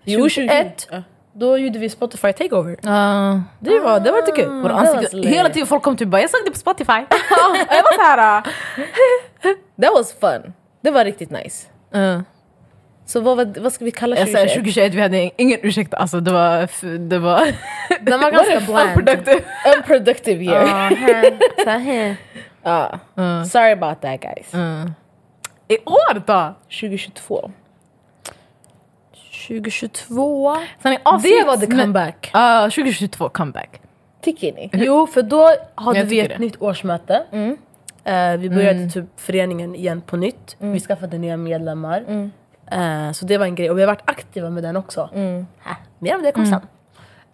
Speaker 1: 2021, då gjorde vi Spotify takeover.
Speaker 3: Ah.
Speaker 1: Det var, det var lite kul.
Speaker 3: Våra
Speaker 2: var
Speaker 3: ansikten,
Speaker 2: slay.
Speaker 3: hela tiden folk kom typ bara “jag såg det på Spotify”. Och jag var såhär...
Speaker 2: That was fun. Det var riktigt nice.
Speaker 3: Uh.
Speaker 2: Så vad, var- vad ska vi kalla
Speaker 3: Jag säger
Speaker 2: 2021?
Speaker 3: 2021, vi hade ingen ursäkt. Alltså det var... f- Det var...
Speaker 5: Den var
Speaker 2: What
Speaker 5: ganska
Speaker 2: if
Speaker 5: bland.
Speaker 3: Unproductive.
Speaker 2: Unproductive year. Ja. Sorry about that guys.
Speaker 3: I år då?
Speaker 2: 2022.
Speaker 1: 2022.
Speaker 3: Sen i avsnitt,
Speaker 2: Det var the comeback.
Speaker 3: Ja, 2022 comeback.
Speaker 2: Tycker ni?
Speaker 3: Mm.
Speaker 2: Mm,
Speaker 1: Jo, för då hade
Speaker 3: Jag
Speaker 1: vi ett
Speaker 3: tycker det.
Speaker 1: nytt årsmöte. Eh, vi började typ föreningen igen på nytt. Vi skaffade nya medlemmar.
Speaker 2: mm,
Speaker 1: Eh, så det var en grej. Och vi har varit aktiva med den också.
Speaker 2: mm,
Speaker 1: Ha, mer om det kom sen.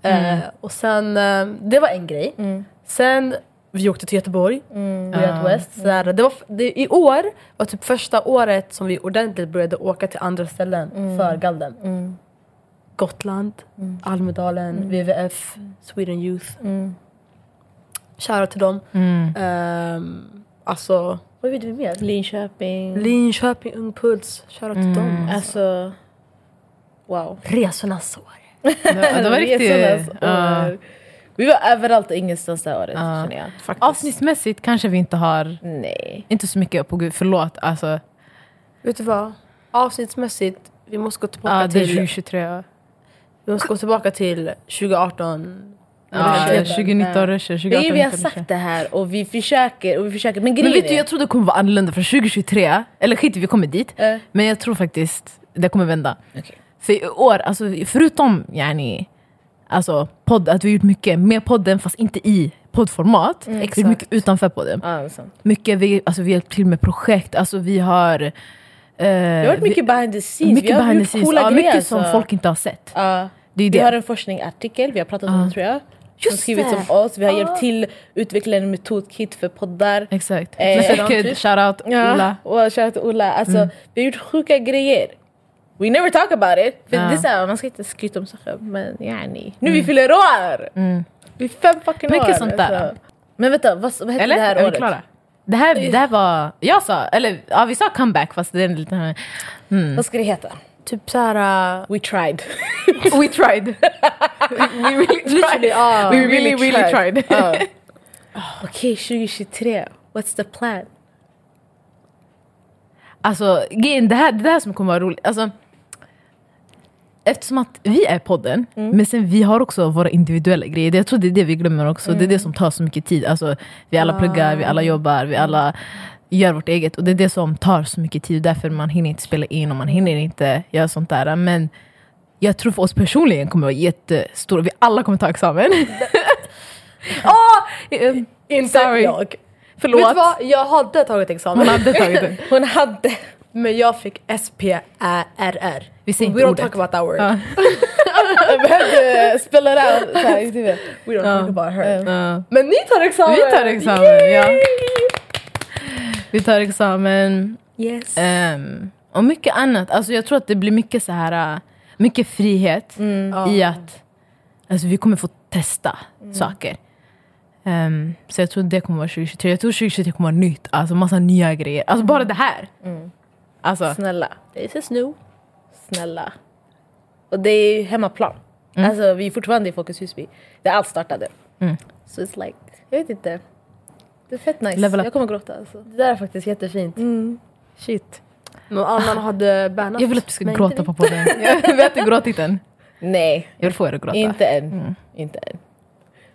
Speaker 1: Eh, och sen, eh, det var en grej.
Speaker 2: mm,
Speaker 1: Sen, vi åkte till Göteborg. Mm.
Speaker 3: Ah.
Speaker 1: West. Så där, det var, f- det, I år var typ första året som vi ordentligt började åka till andra ställen för Galden.
Speaker 2: Mm,
Speaker 1: Gotland, Almedalen, WWF, Sweden Youth.
Speaker 2: mm.
Speaker 1: Kära till dem. Ehm, alltså, vad gjorde vi mer?
Speaker 2: Linköping.
Speaker 1: Linköping, Ung Puls. Shoutout till dem. Alltså,
Speaker 2: Alltså, wow.
Speaker 1: resornas år.
Speaker 3: Det, det var riktigt...
Speaker 2: Resornas år. Vi var överallt och ingenstans det här året känner jag. Faktiskt.
Speaker 3: Avsnittsmässigt kanske vi inte har...
Speaker 2: Nej.
Speaker 3: Inte så mycket på gud, förlåt. Alltså,
Speaker 1: Vet du vad? Avsnittsmässigt, vi måste gå tillbaka
Speaker 3: ja, det är
Speaker 1: till,
Speaker 3: 2023.
Speaker 1: vi måste gå tillbaka till 2018.
Speaker 3: Mm. Ja,
Speaker 2: det är
Speaker 3: 2019 rusher, 2018
Speaker 2: Vi, vi har
Speaker 3: rusher.
Speaker 2: sagt det här och vi försöker och vi försöker. Men
Speaker 3: Men
Speaker 2: grejen
Speaker 3: vet du, jag tror det kommer vara annorlunda för 2023. Eller skit i, vi kommer dit.
Speaker 2: Eh.
Speaker 3: Men jag tror faktiskt det kommer vända.
Speaker 2: Okej.
Speaker 3: För i år, alltså, förutom yani, alltså, podd, att vi har gjort mycket med podden fast inte i poddformat.
Speaker 2: Mm,
Speaker 3: vi har gjort mycket utanför podden.
Speaker 2: Ja, det är sant.
Speaker 3: Mycket, vi, alltså, vi har hjälpt till med projekt, alltså, vi har... eh,
Speaker 2: Det har varit mycket behind the scenes.
Speaker 3: mycket
Speaker 2: vi har
Speaker 3: behind the
Speaker 2: gjort
Speaker 3: scenes.
Speaker 2: coola
Speaker 3: Ja,
Speaker 2: grejer.
Speaker 3: mycket som
Speaker 2: alltså.
Speaker 3: folk inte har sett.
Speaker 2: Ja.
Speaker 3: Det är
Speaker 2: Vi
Speaker 3: det.
Speaker 2: har en forskningsartikel, vi har pratat om det tror jag. Som skrivits om oss. Vi har hjälpt till utveckla en metodkit för poddar.
Speaker 3: Exakt.
Speaker 2: Eh,
Speaker 3: Nästa kid, shoutout,
Speaker 2: Ja,
Speaker 3: Ola.
Speaker 2: Och shoutout till Ola. Alltså,
Speaker 3: Mm.
Speaker 2: Vi har gjort sjuka grejer. We never talk about it. För
Speaker 3: Ja. Mm.
Speaker 2: det är så här, man ska inte skryta om sig själv. Men yani. Nu vi fyller år! Vi är fem fucking år. alltså.
Speaker 3: Mycket sånt där.
Speaker 2: Men vänta, vad, vad hette
Speaker 3: Eller?
Speaker 2: det här
Speaker 3: är vi
Speaker 2: året?
Speaker 3: klara? Det här, det här var... Jag sa... Eller ja, vi sa comeback fast det är en liten... hmm.
Speaker 2: Vad ska det heta?
Speaker 1: Typ såhär...
Speaker 2: We tried.
Speaker 3: We tried. We really tried.
Speaker 1: ja.
Speaker 3: We really, really tried.
Speaker 2: Ja. Okej, 2023. What's the plan?
Speaker 3: Alltså, grejen, det här, det här som kommer vara roligt. Alltså, eftersom att vi är podden,
Speaker 1: Mm.
Speaker 3: men sen vi har också våra individuella grejer. Jag tror det är det vi glömmer också.
Speaker 1: Mm.
Speaker 3: Det är det som tar så mycket tid. Alltså, vi alla pluggar, vi alla jobbar, vi alla gör vårt eget. Och det är det som tar så mycket tid. Därför man hinner inte spela in och man hinner inte göra sånt där. Men jag tror för oss personligen kommer det vara jättestort. Vi alla kommer ta examen. Åh!
Speaker 1: Inte
Speaker 3: Sorry.
Speaker 1: jag. Vet du
Speaker 3: Förlåt.
Speaker 1: vad? Jag hade tagit examen.
Speaker 3: Hon hade tagit det.
Speaker 2: Hon hade...
Speaker 1: Men jag fick SPRR.
Speaker 3: Vi säger
Speaker 1: We
Speaker 3: inte
Speaker 1: don't
Speaker 3: ordet.
Speaker 1: talk about that word.
Speaker 3: Ja.
Speaker 2: Jag behövde spela det här i huvudet.
Speaker 1: We don't talk about her.
Speaker 3: Ja.
Speaker 1: Men ni tar examen!
Speaker 3: Vi tar examen, ja. Vi tar examen.
Speaker 1: Yes.
Speaker 3: ehm, och mycket annat. Alltså jag tror att det blir mycket så här, äh, mycket frihet
Speaker 2: Mm,
Speaker 3: i att alltså vi kommer få testa saker. Ehm, så jag tror det kommer vara 2023. Jag tror 2023 kommer vara nytt. Alltså massa nya grejer. Alltså bara det här. Alltså,
Speaker 2: mm. Snälla,
Speaker 1: This is new.
Speaker 2: snälla. Och det är ju hemmaplan.
Speaker 3: Mm.
Speaker 2: Alltså vi är fortfarande i Folkets Husby. Där allt startade. Så it's like, jag vet inte. Det är fett nice.
Speaker 3: Level up. Mm.
Speaker 2: jag kommer gråta alltså.
Speaker 1: Det där är faktiskt jättefint.
Speaker 3: shit.
Speaker 1: Någon annan hade bannat.
Speaker 3: Jag vill att du ska
Speaker 1: men
Speaker 3: gråta
Speaker 1: inte
Speaker 3: på podden. Jag vet inte gråtit än.
Speaker 2: Nej,
Speaker 3: Jag vill få er att gråta. Mm.
Speaker 2: inte än. Inte än.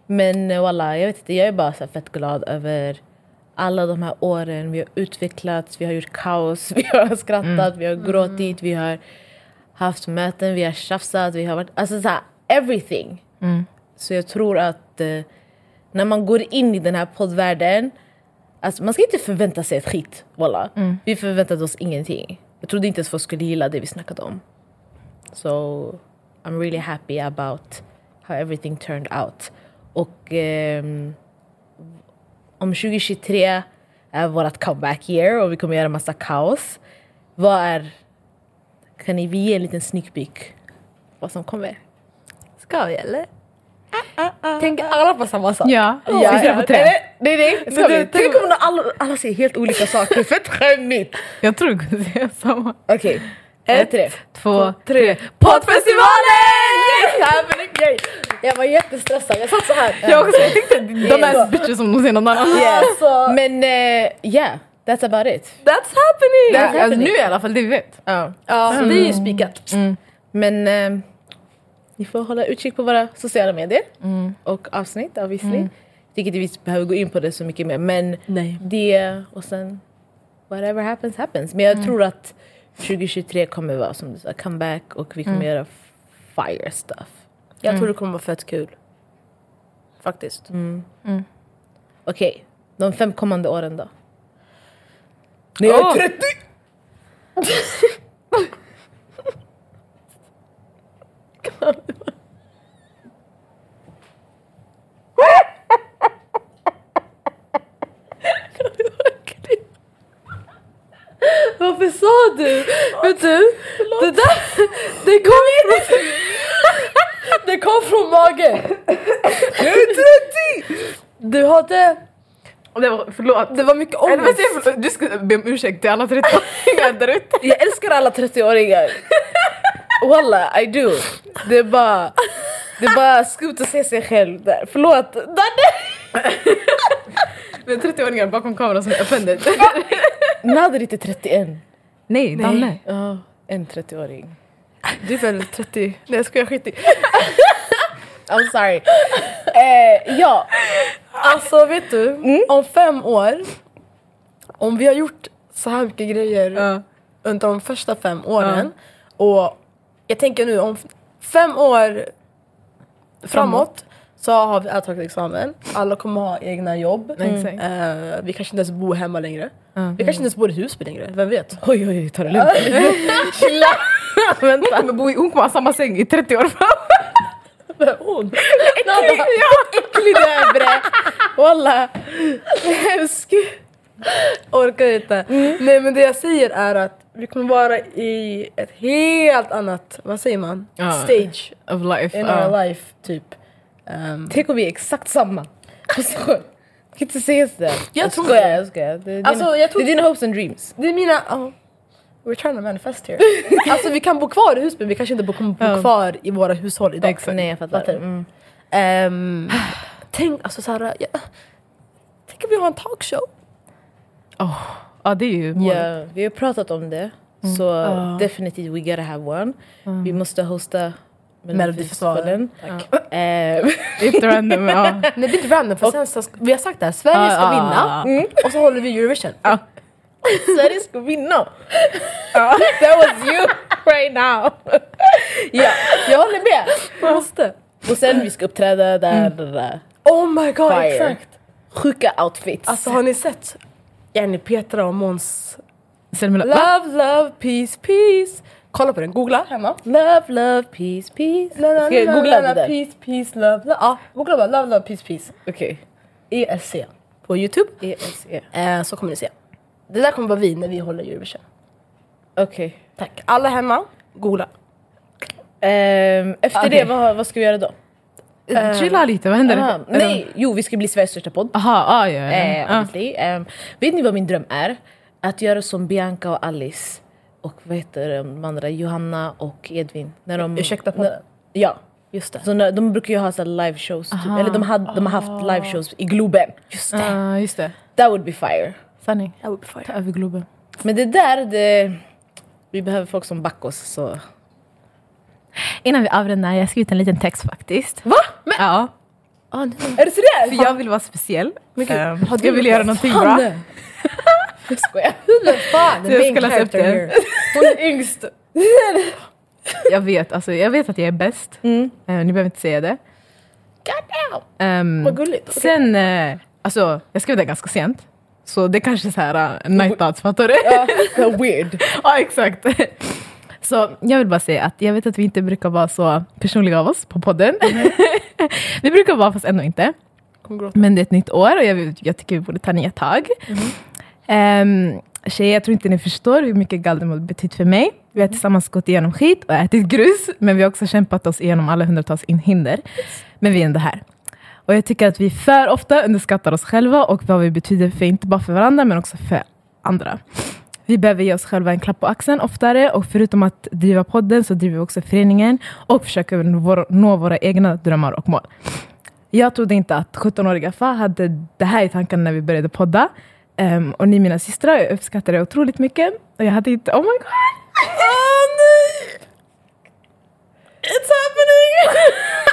Speaker 2: Men eh, wallah, jag vet inte. Jag är bara så här fett glad över alla de här åren. Vi har utvecklats, vi har gjort kaos, vi har skrattat, vi har gråtit, vi har haft möten, vi har tjafsat, vi har varit... Alltså så här, everything. Så jag tror att eh, när man går in i den här poddvärlden, alltså man ska inte förvänta sig ett skit. Voilà. Vi förväntade oss ingenting. Jag trodde inte ens folk skulle gilla det vi snackade om. So I'm really happy about how everything turned out. Och ehm, om 2023 är vårt comeback year och vi kommer göra massa kaos. Vad är... Kan ni vi ge en liten sneak peek? Vad som kommer?
Speaker 1: Ska vi eller? Tänker alla på samma sak?
Speaker 3: Ja, vi ser på tre.
Speaker 2: Nej, nej, nej. Ska
Speaker 1: Men
Speaker 2: vi?
Speaker 1: du,
Speaker 2: Tänk om alla, alla säger helt olika saker. Fett skämmigt.
Speaker 3: Jag tror du kommer säga samma.
Speaker 2: Okej,
Speaker 3: Ett,
Speaker 2: tre.
Speaker 3: två,
Speaker 1: tre.
Speaker 3: Poddfestivalen!
Speaker 2: Jag var jättestressad, jag satt så här. Eh,
Speaker 3: Jag, också, jag tänkte de är bitches som någonsin någon annan.
Speaker 2: Alltså. Men eh, yeah, that's about it.
Speaker 1: That's happening!
Speaker 3: Det här- Alltså, nu i alla fall, det vi vet.
Speaker 2: Ja.
Speaker 1: Ja, så det är ju
Speaker 3: Mm.
Speaker 1: spikat.
Speaker 2: Men eh, ni får hålla utkik på våra sociala medier och avsnitt obviously. Jag tycker inte vi behöver gå in på det så mycket mer men
Speaker 5: Nej.
Speaker 2: det och sen whatever happens happens. Men jag tror att 2023 kommer vara som du sa, comeback och vi kommer göra fire stuff.
Speaker 1: Jag
Speaker 3: Mm.
Speaker 1: tror det kommer vara fett kul. Faktiskt.
Speaker 2: Okej, de fem kommande åren då? När jag är 30!
Speaker 1: Varför sa du? Vet du? Det där, det kom från... Det kom från magen.
Speaker 2: Jag är 30!
Speaker 1: Du hade...
Speaker 3: Det var, förlåt.
Speaker 1: Det var mycket
Speaker 3: Eller vad
Speaker 1: ångest.
Speaker 3: säger jag? Förlåt, typ- Du ska be om ursäkt till alla 30-åringar där ute.
Speaker 2: Jag älskar alla 30-åringar. Walla, I do. Det är bara, det är bara skumt att se sig själv där. Förlåt. Danne!
Speaker 3: Men 30-åringar bakom kameran som är offended.
Speaker 2: Nader är inte 31.
Speaker 3: Nej, Danne.
Speaker 2: Ja, en 30-åring.
Speaker 1: Du är väl 30? Nej jag skojar, skit i.
Speaker 2: I'm sorry. Eh, ja,
Speaker 1: Alltså vet du, om fem år, om vi har gjort så här mycket grejer under de första fem åren och jag tänker nu om f- fem år framåt, så har vi alla tagit examen, alla kommer ha egna jobb.
Speaker 3: Exakt.
Speaker 1: Eh, vi kanske inte ens bor hemma längre. Vi kanske inte ens bor i Husby längre, vem vet?
Speaker 2: oj oj oj, ta det lugnt.
Speaker 3: Chilla! Vänta. Hon kommer bo i Ungkvarn, samma säng i 30 år fram.
Speaker 1: Hon.
Speaker 2: Nada, äcklig du är bre. Walla, hemsk.
Speaker 1: Orkar inte. Mm. Nej men det jag säger är att vi kommer vara i ett helt annat, vad säger man?
Speaker 3: Ja.
Speaker 1: Stage
Speaker 3: Of life.
Speaker 1: in
Speaker 3: ja.
Speaker 1: our life typ. Ehm,
Speaker 2: Tänk om vi är exakt samma position. Vi kan inte se sådär.
Speaker 1: Jag tror
Speaker 2: skojar,
Speaker 1: det.
Speaker 2: jag skojar. Det är dina,
Speaker 1: Alltså, jag tror-
Speaker 2: det är dina hopes and dreams.
Speaker 1: Det är mina... ja. We're trying to manifest here. alltså vi kan bo kvar i Husby, vi kanske inte bo- kommer bo kvar i våra hushåll idag.
Speaker 2: Nej jag fattar.
Speaker 1: Fattar du?
Speaker 2: Mm.
Speaker 1: Ehm, tänk alltså såhär... Ja, tänk om vi har en talkshow.
Speaker 3: Åh, Ja, det är ju
Speaker 1: Mm.
Speaker 3: målet.
Speaker 2: Ja, vi har pratat om det. Så definitivt we gotta have one. Vi måste hosta
Speaker 1: Mm. Melodifestivalen.
Speaker 2: Melodifestivalen. Ehm,
Speaker 3: Lite random, ja.
Speaker 1: Nej det är inte random för sen så, vi har sagt det här, Sverige
Speaker 3: Ja,
Speaker 1: ska
Speaker 3: ja,
Speaker 1: vinna Mm.
Speaker 3: ja.
Speaker 1: och så håller vi Eurovision.
Speaker 2: Sverige ska vinna! That was you right now! ja, jag håller med!
Speaker 1: Måste.
Speaker 2: Och sen vi ska uppträda där, där, där.
Speaker 1: Oh my god
Speaker 2: Fire.
Speaker 1: exakt!
Speaker 2: Sjuka outfits.
Speaker 1: Alltså har ni sett Jenny, Petra och Måns
Speaker 3: Selma-
Speaker 1: Love, love, peace, peace. Kolla på den, googla hemma.
Speaker 2: love, love, peace, peace.
Speaker 1: La, la,
Speaker 2: Ska jag
Speaker 1: la,
Speaker 2: googla
Speaker 1: la, la,
Speaker 2: det där?
Speaker 1: Peace, peace, love. ah, love. Ja, googla bara love, love, peace, peace.
Speaker 2: Okej. E
Speaker 1: ESC på Youtube.
Speaker 2: ESE.
Speaker 1: Eh, så kommer ni se. Det där kommer vara vi när vi håller Eurovision.
Speaker 2: Okej.
Speaker 1: Tack. Alla hemma, googla.
Speaker 2: Ehm, Efter
Speaker 3: Okej.
Speaker 2: det, vad, vad ska vi göra då?
Speaker 3: Chilla lite, vad händer?
Speaker 2: Aha,
Speaker 3: Eller-
Speaker 2: nej, jo vi ska bli Sveriges största podd.
Speaker 3: Aha, ah, ja, ja,
Speaker 2: Eh,
Speaker 3: ja. Ah.
Speaker 2: obviously. Ehm, vet ni vad min dröm är? Att göra som Bianca och Alice och vad heter de andra? Johanna och Edvin. När de,
Speaker 1: Ursäkta på
Speaker 2: när-
Speaker 1: det.
Speaker 2: Ja.
Speaker 1: Just det.
Speaker 2: Så när, de brukar ju ha så här live shows, typ. eller de, hade, de har haft live shows i Globen. Just det.
Speaker 3: Ah, just det.
Speaker 2: That would be fire.
Speaker 3: Sanning.
Speaker 1: I would be fine.
Speaker 3: Ta över Globen.
Speaker 2: Men det där, det, vi behöver folk som backar oss. Så.
Speaker 3: Innan vi avrundar, jag har skrivit en liten text faktiskt.
Speaker 2: Va?
Speaker 3: Ja,
Speaker 1: Ah, nej.
Speaker 2: Är du seriös?
Speaker 3: för jag vill vara speciell. Ehm, jag vill
Speaker 1: gjort
Speaker 3: göra
Speaker 1: det?
Speaker 3: någonting
Speaker 2: Fan,
Speaker 3: bra.
Speaker 2: nej. Jag skojar. Who the fuck?
Speaker 1: The
Speaker 3: jag
Speaker 1: main
Speaker 3: ska läsa upp
Speaker 1: character
Speaker 3: det.
Speaker 1: here. Hon är yngst.
Speaker 3: Jag vet, alltså, jag vet att jag är bäst.
Speaker 2: Mm.
Speaker 3: Eh, ni behöver inte säga det.
Speaker 2: God
Speaker 3: Ehm,
Speaker 1: Vad gulligt. Okej.
Speaker 3: Sen, eh, alltså jag skrev det ganska sent. Så det kanske är så här uh, night thoughts, fattar du? Ja,
Speaker 2: damn. Weird.
Speaker 3: exakt. Så jag vill bara säga att jag vet att vi inte brukar vara så personliga av oss på podden. vi brukar vara, fast ändå inte.
Speaker 1: Kommer gråta.
Speaker 3: Men det är ett nytt år och jag, vill- jag tycker vi borde ta nya tag. Ehm, tjejer, jag tror inte ni förstår hur mycket Galdemob betytt för mig. Vi har tillsammans gått igenom skit och ätit grus, men vi har också kämpat oss igenom alla hundratals in- hinder. Men vi är ändå här. Och jag tycker att vi för ofta underskattar oss själva och vad vi betyder för, inte bara för varandra, men också för andra. Vi behöver ge oss själva en klapp på axeln oftare och förutom att driva podden så driver vi också föreningen och försöker nå vår- nå våra egna drömmar och mål. Jag trodde inte att 17-åriga Fa hade det här i tanken när vi började podda. Ehm, och ni mina systrar, jag uppskattar er otroligt mycket. Och jag hade inte... Oh my god!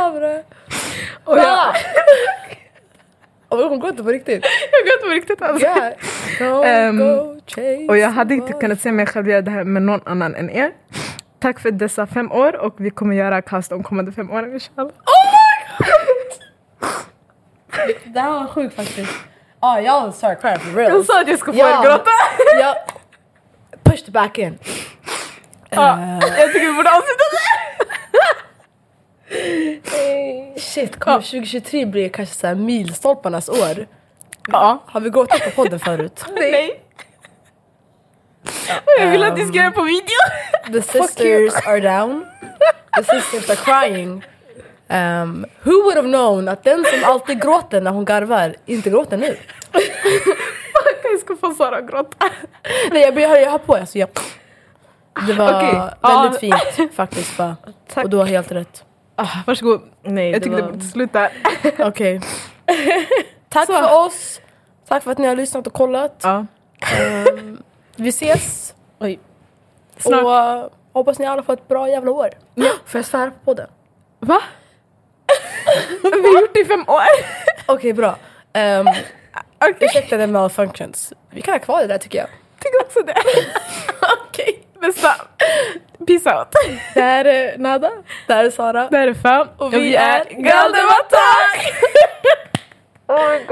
Speaker 3: Oh, nej! It's happening! Jävla Favre! Och jag,
Speaker 1: Ah! Hon går inte på riktigt.
Speaker 3: jag vet på riktigt alltså.
Speaker 1: Yeah. Don't
Speaker 3: Ehm,
Speaker 1: go chase
Speaker 3: Och jag hade inte kunnat se mig själv göra det här med någon annan än er. Tack för dessa fem år och vi kommer göra kast de kommande fem åren inshallah.
Speaker 2: Det här var sjukt faktiskt.
Speaker 1: Ja, jag sa crap for real.
Speaker 3: Jag sa att jag skulle få
Speaker 2: Ja.
Speaker 3: er gråta.
Speaker 2: Jag pushed back in.
Speaker 3: Jag tycker vi borde avsluta.
Speaker 1: Shit, kommer 2023 bli kanske såhär milstolparnas år?
Speaker 3: Ja.
Speaker 1: Har vi gått upp på podden förut?
Speaker 3: Nej. Jag vill att ni ska göra på video.
Speaker 1: The sisters are down. The sisters are crying. Um, who would have known att den som alltid gråter när hon garvar inte gråter nu?
Speaker 3: Jag ska få Sara att gråta.
Speaker 1: Nej jag, jag, jag har på, alltså jag... Det var
Speaker 3: Okej,
Speaker 1: väldigt fint faktiskt. Va?
Speaker 3: Tack.
Speaker 1: Och du har helt rätt.
Speaker 3: Ah, varsågod.
Speaker 2: Nej,
Speaker 3: Jag tycker det
Speaker 2: var-
Speaker 3: borde sluta.
Speaker 1: Okej. Tack för oss. Tack för att ni har lyssnat och kollat.
Speaker 3: Ja.
Speaker 1: Ehm, vi ses.
Speaker 2: Oj.
Speaker 3: Snart.
Speaker 1: Och eh, hoppas ni alla får ett bra jävla år. Får jag svära på podden?
Speaker 3: Va? vi har gjort det i fem år.
Speaker 1: Okej, bra. Um,
Speaker 3: Okej,
Speaker 1: ursäkta the malfunctions. Vi kan ha kvar det där tycker jag.
Speaker 3: jag tycker också det. Okej, bästa. Peace out.
Speaker 2: Det här är Nada.
Speaker 1: Det här är Sara.
Speaker 3: Det här är fem och
Speaker 1: vi är
Speaker 3: Galdemata!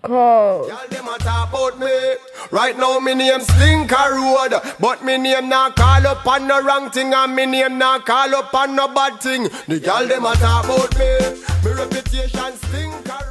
Speaker 1: Oh
Speaker 6: Y'all dem a talk about me. Right now me name Slinker Road, but me name not call up on no wrong thing, and me name not call up on no bad thing. The y'all dem a talk about me. Me reputation Slinker.